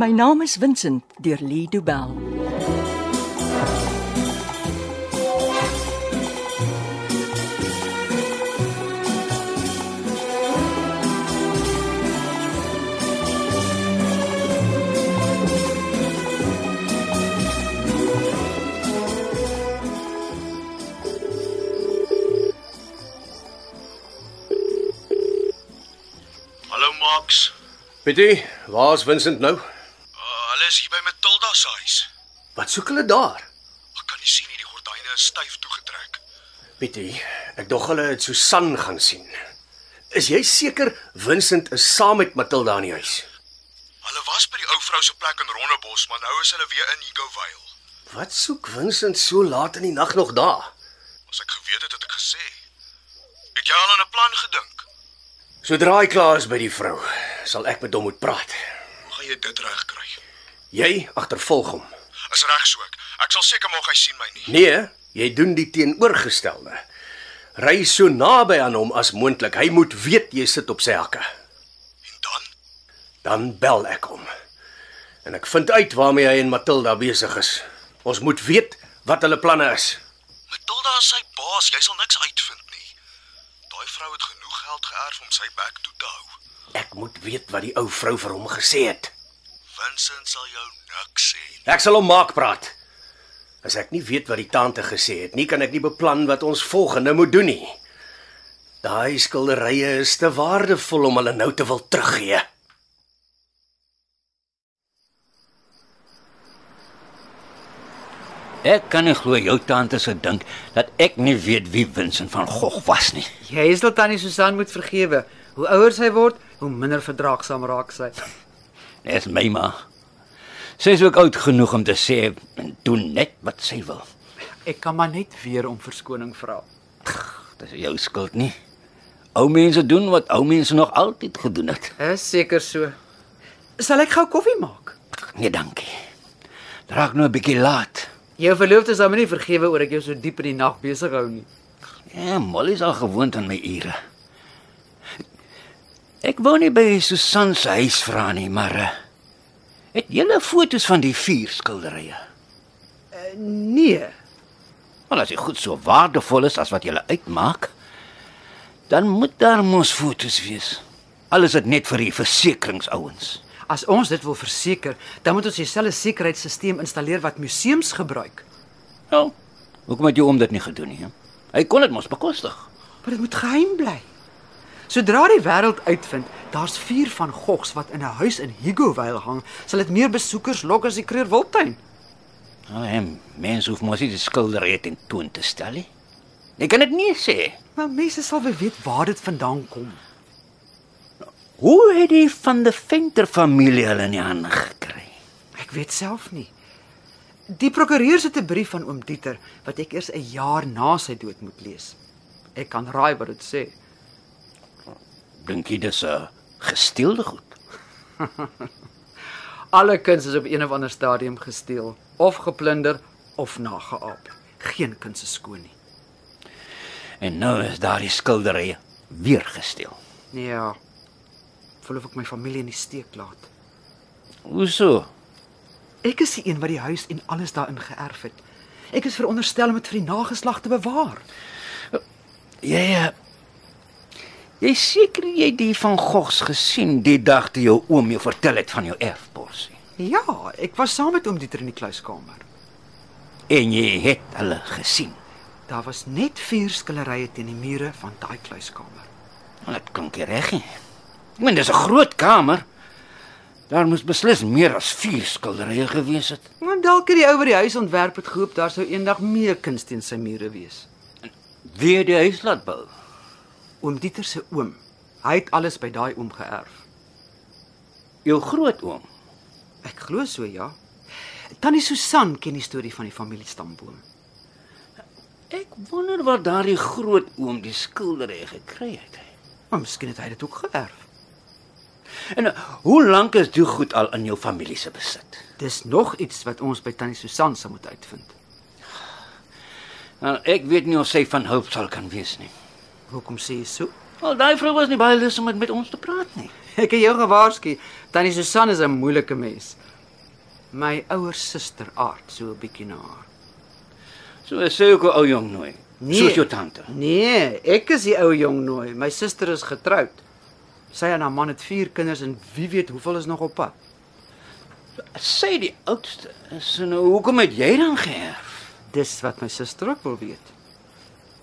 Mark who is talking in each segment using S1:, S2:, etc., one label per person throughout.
S1: My naam is Vincent deur Lee Du Bell.
S2: Hallo Max.
S3: Pietie, waar's Vincent nou?
S2: Uh, hulle is hier by Matilda se huis.
S3: Wat soek hulle daar?
S2: Ek kan nie sien hierdie gordyne is styf toegetrek.
S3: Pietie, ek dog hulle het Susan gaan sien. Is jy seker Vincent is saam met Matilda in die huis?
S2: Hulle was by die ou vrou se plek in Rondebos, maar nou is hulle weer in Hugo Vale.
S3: Wat soek Vincent so laat in die nag nog daar?
S2: As ek geweet het, het ek gesê. Het jy al aan 'n plan gedink?
S3: Sodra hy klaar is by die vrou, sal ek met hom moet praat.
S2: Hoe gaan jy dit regkry?
S3: Jy agtervolg hom.
S2: Is reg so ek. Ek sal seker maak hy sien my nie.
S3: Nee, jy doen die teenoorgestelde. Ry so naby aan hom as moontlik. Hy moet weet jy sit op sy hakke.
S2: En dan?
S3: Dan bel ek hom. En ek vind uit waarmee hy en Matilda besig is. Ons moet weet wat hulle planne is.
S2: Matilda is sy baas, jy sal niks uitvind nie. Daai vrou het genoeg geld geërf om sy bek toe te hou.
S3: Ek moet weet wat die ou vrou vir hom gesê het.
S2: Vincent sal jou niks sê nie.
S3: Ek sal hom maak praat. As ek nie weet wat die tante gesê het nie, kan ek nie beplan wat ons volgende moet doen nie. Daai skilderye is te waardevol om hulle nou te wil teruggee.
S4: Ek kan nie glo jou tante se dink dat ek nie weet wie Vincent van Gogh was nie.
S5: Jy sal tannie Susan moet vergewe. Hoe ouer sy word, hoe minder verdraagsaam raak sy.
S4: Dis my ma. Sy is ook oud genoeg om te sê en doen net wat sy wil.
S5: Ek kan maar net weer om verskoning vra.
S4: Dis jou skuld nie. Ou mense doen wat ou mense nog altyd gedoen het.
S5: Is seker so. Sal ek gou koffie maak?
S4: Nee, dankie. Dit raak nou 'n bietjie laat.
S5: Jou verloofde sal my nie vergewe oor ek jou so diep in die nag besig hou nie.
S4: Ja, Molly is al gewoond aan my ure. Ek wou nie by Susan se huis vra nie, maar eh, het julle foto's van die vier skilderye?
S5: Nee,
S4: Wel as dit goed so waardevol is as wat jy uitmaak, dan moet daar mos fotos wees. Al is dit net vir die versekeringsouens.
S5: as ons dit wil verseker, dan moet ons dieselfde sekuriteitstelsel installeer wat museums gebruik.
S4: Ja. Hoekom het jou oom dit nie gedoen nie? hè? Hy kon dit mos bekostig.
S5: Maar dit moet geheim bly. Sodra die wêreld uitvind daar's vier van Gogs wat in 'n huis in Hugovale hang, sal dit meer besoekers lok as die Kreurwoudtuin.
S4: Nou, en mense hoef mos nie die skilderye teen toon te stel nie. Jy kan dit nie sê.
S5: Maar mense sal wel weet waar dit vandaan kom.
S4: Hoe het die van die Venter familie hulle in die hande gekry?
S5: Ek weet self nie. Die prokureur het 'n brief van oom Dieter wat ek eers 'n jaar na sy dood moet lees. Ek kan raai wat dit sê.
S4: Dink jy dis 'n gesteelde goed?
S5: Alle kuns is op een of ander stadium gesteel, of geplunder of nageaap. Geen kuns is skoon nie.
S4: En nou is daardie skilderye weer gesteel.
S5: Ja. Voel of ek my familie in die steek laat.
S4: Hoeso?
S5: Ek is die een wat die huis en alles daarin geërf het. Ek is veronderstel om dit vir die nageslag te bewaar.
S4: Jy eh, jy is seker jy het die van Gogs gesien die dag toe jou oom jou vertel het van jou erfporsie.
S5: Ja, ek was saam met oom Dieter in die kluiskamer.
S4: En jy het hulle gesien.
S5: Daar was net vier skilderye teen die mure van daai kluiskamer.
S4: Maar dit klink nie reg nie. Ek meen dis 'n groot kamer. Daar moes beslis meer as 4 skilderye gewees het.
S5: Maar dalk het die ou wat die huis ontwerp het gehoop daar sou eendag meer kuns teen sy mure wees.
S4: Weer die huis laat bou.
S5: Oom Dieter se oom, hy het alles by daai oom geërf.
S4: Jou grootoom.
S5: Ek glo so ja. Tannie Susan ken die storie van die familie stamboom.
S4: Ek wonder waar daardie grootoom die skilderye gekry het.
S5: Maar miskien het hy dit ook geërf.
S4: En eh, hoe lank is die goed al in jou familie se besit?
S5: Dis nog iets wat ons by tannie Susan sal moet uitvind.
S4: Nou, ek weet nie of sy van hulp sal kan wees nie.
S5: Hoekom sê jy so?
S4: Wel, daai vrou was nie baie lus om met, met ons te praat nie.
S5: Ek het jou gewaarsku. Tannie Susan is 'n moeilike mens. My ouer suster aard so 'n bietjie na haar.
S4: So sê ek ou jong nooi. Soos jou tante.
S5: Nee, ek is die ou jong nooi. My suster is getroud. Sy en haar man het 4 kinders en wie weet hoeveel is nog op pad.
S4: Sê die oudste, is nou hoekom het jy dan geërf?
S5: Dis wat my suster ook wil weet.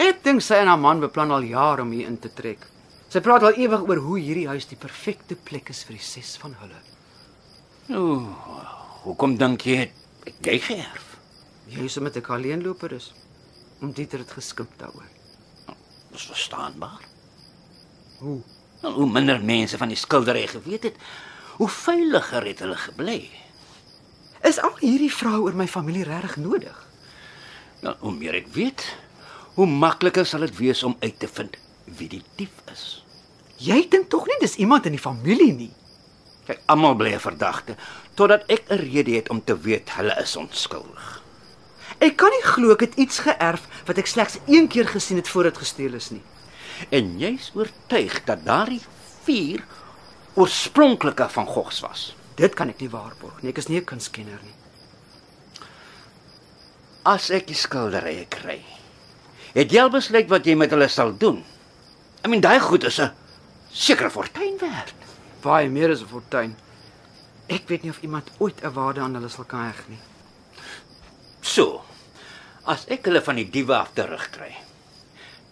S5: Ek dink sy en haar man beplan al jare om hier in te trek. Sy praat al ewig oor hoe hierdie huis die perfekte plek is vir die ses van hulle.
S4: Ooh, Nou, hoekom dink jy het het jy geërf?
S5: Jy is met 'n alleenloper is. Om Dieter het geskimp daaroor.
S4: Dis verstaanbaar.
S5: Hoe?
S4: Nou, hoe minder mense van die skildery geweet het, hoe veiliger het hulle gebly.
S5: Is al hierdie vrae oor my familie regtig nodig?
S4: Nou, hoe meer ek weet, hoe makliker sal dit wees om uit te vind wie die dief is.
S5: Jy dink tog nie dis iemand in die familie nie.
S4: Kyk, almal bly 'n verdagte totdat ek 'n rede het om te weet hulle is onskuldig.
S5: Ek kan nie glo ek het iets geërf wat ek slegs een keer gesien het voor dit gesteel is nie.
S4: En jy's oortuig dat daardie vier oorspronklike van Gogs was.
S5: Dit kan ek nie waarborg nie. Ek is nie 'n kunstkenner nie.
S4: As ek die skilderye kry, het jy al besluit wat jy met hulle sal doen? I mean, daai goed is 'n sekere fortuin werd.
S5: Baie meer is 'n fortuin. Ek weet nie of iemand ooit 'n waarde aan hulle sal kan heg nie.
S4: So. As ek hulle van die diewe af terugkry,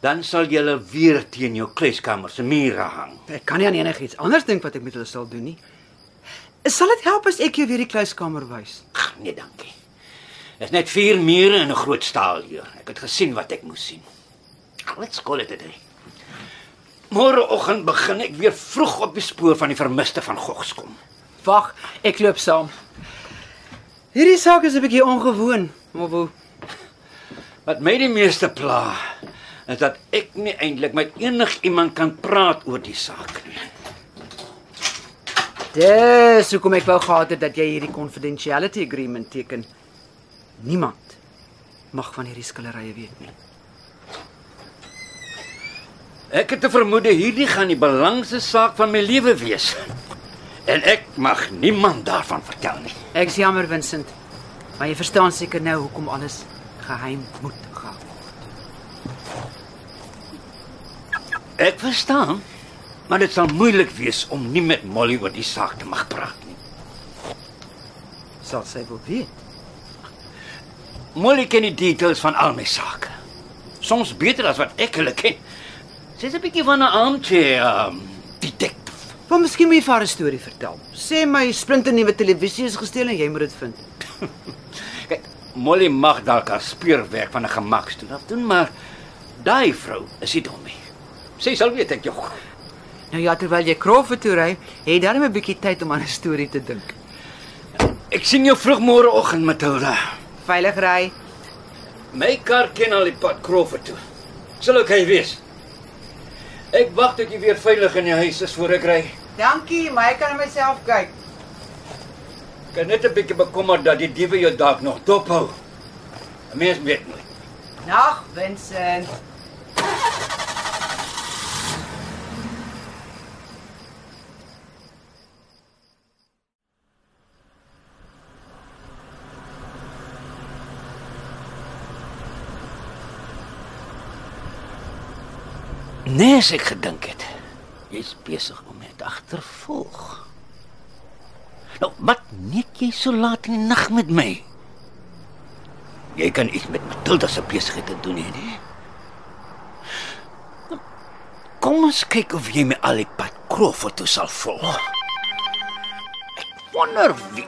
S4: dan sal jy hulle weer teen jou kluiskamer se mure hang.
S5: Ek kan nie aan enigiets anders dink wat ek met hulle sal doen nie. Sal dit help as ek jou weer die kluiskamer wys?
S4: Ag, nee, dankie. Dis net vier mure en 'n groot staalheer. Ek het gesien wat ek moes sien. Let's call it a day. Môreoggend begin ek weer vroeg op die spoor van die vermiste van Gogs kom.
S5: Wag, ek loop saam. Hierdie saak is 'n bietjie ongewoon, maar hoe?
S4: Wat my die meeste pla, is dat ek nie eintlik met enigiemand kan praat oor die saak nie.
S5: Dis hoekom ek wou gehad het dat jy hierdie confidentiality agreement teken. Niemand mag van hierdie skillerye weet nie.
S4: Ek het te vermoede hierdie gaan die belangrikste saak van my lewe wees. En ek mag niemand daarvan vertel nie.
S5: Ek is jammer, Vincent. Maar jy verstaan seker nou hoekom alles geheim moet gehou word.
S4: Ek verstaan, maar dit sal moeilik wees om nie met Molly oor die saak te mag praat nie.
S5: sal sy wil weet.
S4: Molly ken die details van al my sake. Soms beter as wat ek hulle ken. Sy's 'n bietjie van 'n armchair um, detective.
S5: Maar miskien moet jy vir haar 'n storie vertel. Sê my splinternuwe televisie is gesteel en jy moet dit vind.
S4: Kyk, Molly mag dalk haar speurwerk van 'n gemakstoel af doen, maar daai vrou is nie dom nie. Sy sal weet ek jog.
S5: Nou ja, terwyl jy Crawford toe ry, het jy darm 'n bietjie tyd om aan 'n storie te dink.
S4: Ek sien jou vroeg môreoggend, Matilda.
S5: Veilig ry.
S4: My kar ken al die pad Crawford toe. Sal ook hy wees. Ek wag tot jy weer veilig in die huis is voor ek ry.
S5: Dankie, maar ek kan na myself kyk.
S4: Ek is net 'n bietjie bekommerd dat die diewe jou dalk nog dophou. 'n Mens weet nooit.
S5: Nag, Vincent.
S4: Nee, as ek gedink het. Jy's besig om my te agtervolg. Nou, wat net jy so laat in die nag met my? Jy kan iets met Matilda se besigheid te doen hê, nee. Kom ons kyk of jy my al die pad Crawford toe sal volg. Ek wonder wie.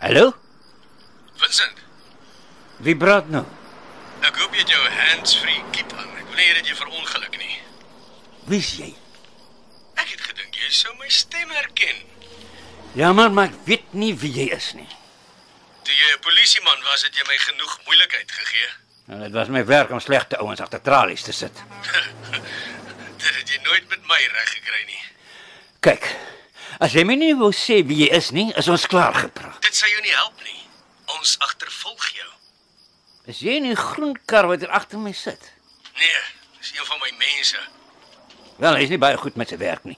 S4: Hallo?
S2: Vincent,
S4: Wie praat nou?
S2: ek hoop jy het jou hands free kit aan. Ek wil nie hê dat jy verongeluk nie.
S4: Wie's jy?
S2: Ek het gedink jy sou my stem herken.
S4: Jammer, Ja, maar ek weet nie wie jy is nie.
S2: Toe jy 'n polisieman was, het jy my genoeg moeilikheid gegee.
S4: Nou, dit was my werk om slegte ouens agter tralies te sit.
S2: Dit het jy nooit met my reg gekry nie.
S4: Kyk, as jy my nie wou sê wie jy is nie, is ons klaar gepraat.
S2: Dit sal jou nie help nie. Ons agtervolg jou.
S4: Is jy in die groen kar wat hier agter my sit?
S2: Nee, dis een van my mense.
S4: Wel, hy's nie baie goed met sy werk nie.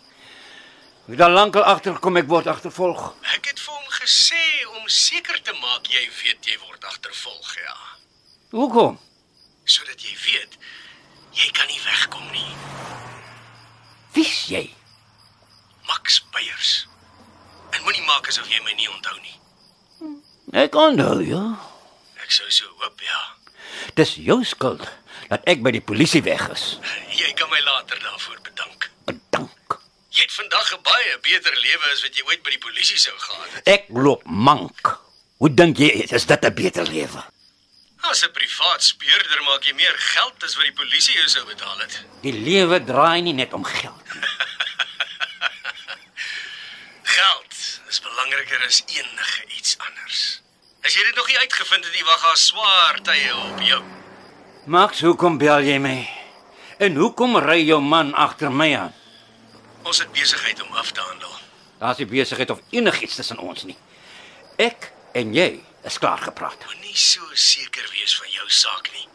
S4: Ek het al lank al agtergekom ek word agtervolg.
S6: Ek het vir hom gesê om seker te maak jy weet jy word agtervolg, ja,
S4: Hoekom?
S6: sodat jy weet jy kan nie wegkom nie.
S4: Wie's jy?
S6: Max Beyers. En moenie maak asof jy my nie onthou nie.
S4: Ek onthou jou.
S6: Ek sou so hoop, ja.
S4: Dis jou skuld dat ek by die polisie weg is.
S6: Jy kan my later daarvoor bedank.
S4: Bedank.
S6: Jy het vandag 'n baie beter lewe as wat jy ooit by die polisie sou gehad het.
S4: Ek loop mank. Hoe dink jy is dit 'n beter lewe?
S6: As 'n privaat speurder maak jy meer geld as wat die polisie jou sou betaal het.
S4: Die lewe draai nie net om geld nie.
S6: Geld is belangriker as enige iets anders. As jy dit nog nie uitgevind het nie, wag daar swaar tye op jou.
S4: Max, hoekom bel jy my? En hoekom ry jou man agter my aan?
S6: Ons het besigheid om af te handel.
S4: Daar's nie besigheid of enigiets tussen ons nie. Ek en jy is klaar gepraat.
S6: Moenie so seker wees van jou saak nie.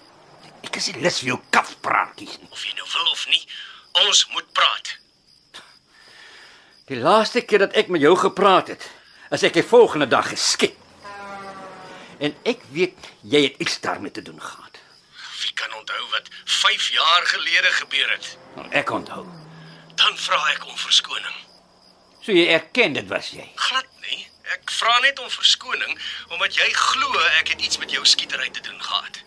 S4: Ek is nie lus vir jou kafpraatjies nie.
S6: Of jy nou wil of nie, ons moet praat.
S4: Die laaste keer dat ek met jou gepraat het, is ek die volgende dag geskiet. En ek weet jy het iets daarmee te doen gehad.
S6: Wie kan onthou wat 5 jaar gelede gebeur het?
S4: Nou, Ek onthou.
S6: Dan vra ek om verskoning.
S4: So jy erken dit was jy.
S6: Glad nie. Ek vra net om verskoning omdat jy glo ek het iets met jou skietery te doen gehad.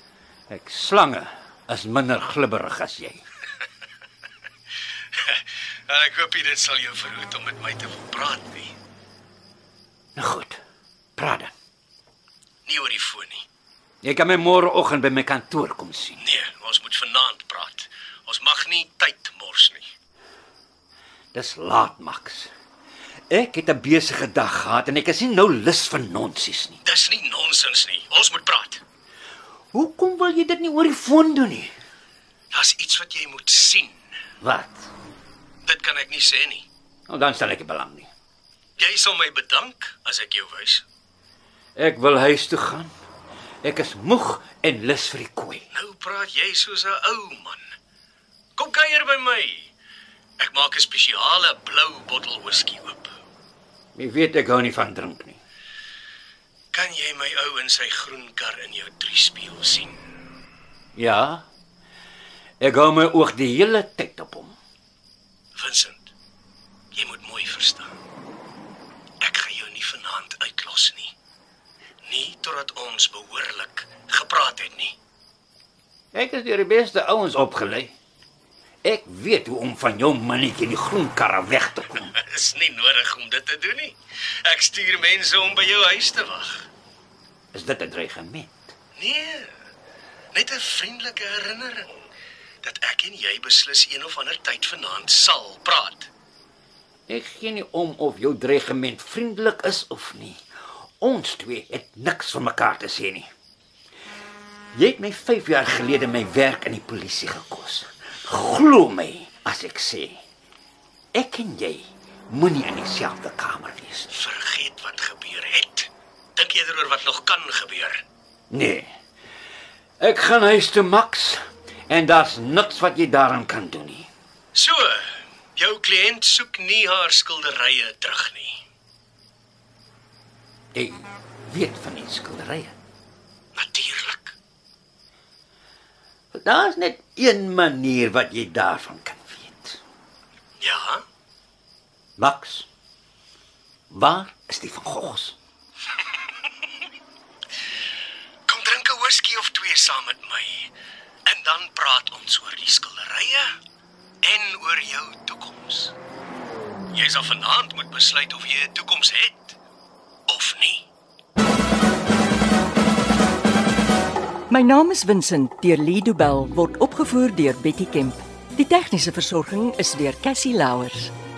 S4: Ek slange is minder glibberig as jy.
S6: En ek hoop nie dit sal jou verhoed om met my te wil praat nie.
S4: Nou goed. Praat dan.
S6: Nie oor die foon nie.
S4: Jy kan my môreoggend by my kantoor kom sien.
S6: Nee, ons moet vanaand praat. Ons mag nie tyd mors nie.
S4: Dis laat, Max. Ek het 'n besige dag gehad en ek is nie nou lus vir nonsies nie.
S6: Dis nie nonsens nie. Ons moet praat.
S4: Hoekom wil jy dit nie oor die foon doen nie?
S6: Daar's iets wat jy moet sien.
S4: Wat?
S6: Dit kan ek nie sê nie.
S4: Nou dan stel ek nie belang nie.
S6: Jy sal my bedank as ek jou wys.
S4: Ek wil huis toe gaan. Ek is moeg en lus vir die kooi.
S6: Nou praat jy soos 'n ou man. Kom kuier by my. Ek maak 'n spesiale blou bottel whisky oop.
S4: Jy weet ek hou nie van drink nie.
S6: Kan jy my ou in sy groen kar in jou driespieël sien?
S4: Ja. Ek hou my oog die hele tyd op hom.
S6: Vincent, jy moet mooi verstaan. Ek gaan jou nie vanaand uitlos nie. Nie totdat ons behoorlik gepraat het nie.
S4: Ek is deur die beste ouens opgelei. Ek weet hoe om van jou mannetjie in die groen karre weg te kom.
S6: Is nie nodig om dit te doen nie. Ek stuur mense om by jou huis te wag.
S4: Is dit 'n dreigement?
S6: Nee. Net 'n vriendelike herinnering dat ek en jy beslis een of ander tyd vanaand sal praat.
S4: Ek gee nie om of jou dreigement vriendelik is of nie. Ons twee het niks van mekaar te sê nie. Jy het my 5 jaar gelede my werk in die polisie gekos. Glo my as ek sê ek en jy moenie in dieselfde kamer wees nie.
S6: Vergeet wat gebeur het. Dink eerder oor wat nog kan gebeur.
S4: Nee. Ek gaan huis toe Max en daar's niks wat jy daaraan kan doen nie.
S6: So, jou kliënt soek nie haar skilderye terug nie.
S4: Ek weet van die skilderye.
S6: Natuurlik.
S4: Daar's net een manier wat jy daarvan kan weet.
S6: Ja,
S4: Max. Waar is die van Gogs?
S6: kom drink 'n whisky of twee saam met my en dan praat ons oor die skilderye en oor jou toekoms. Jy sal vanaand moet besluit of jy 'n toekoms het of nie.
S1: My naam is Vincent deur Lee Du Bell word opgevoer deur Betty Kemp. Die tegniese versorging is deur Cassie Louers.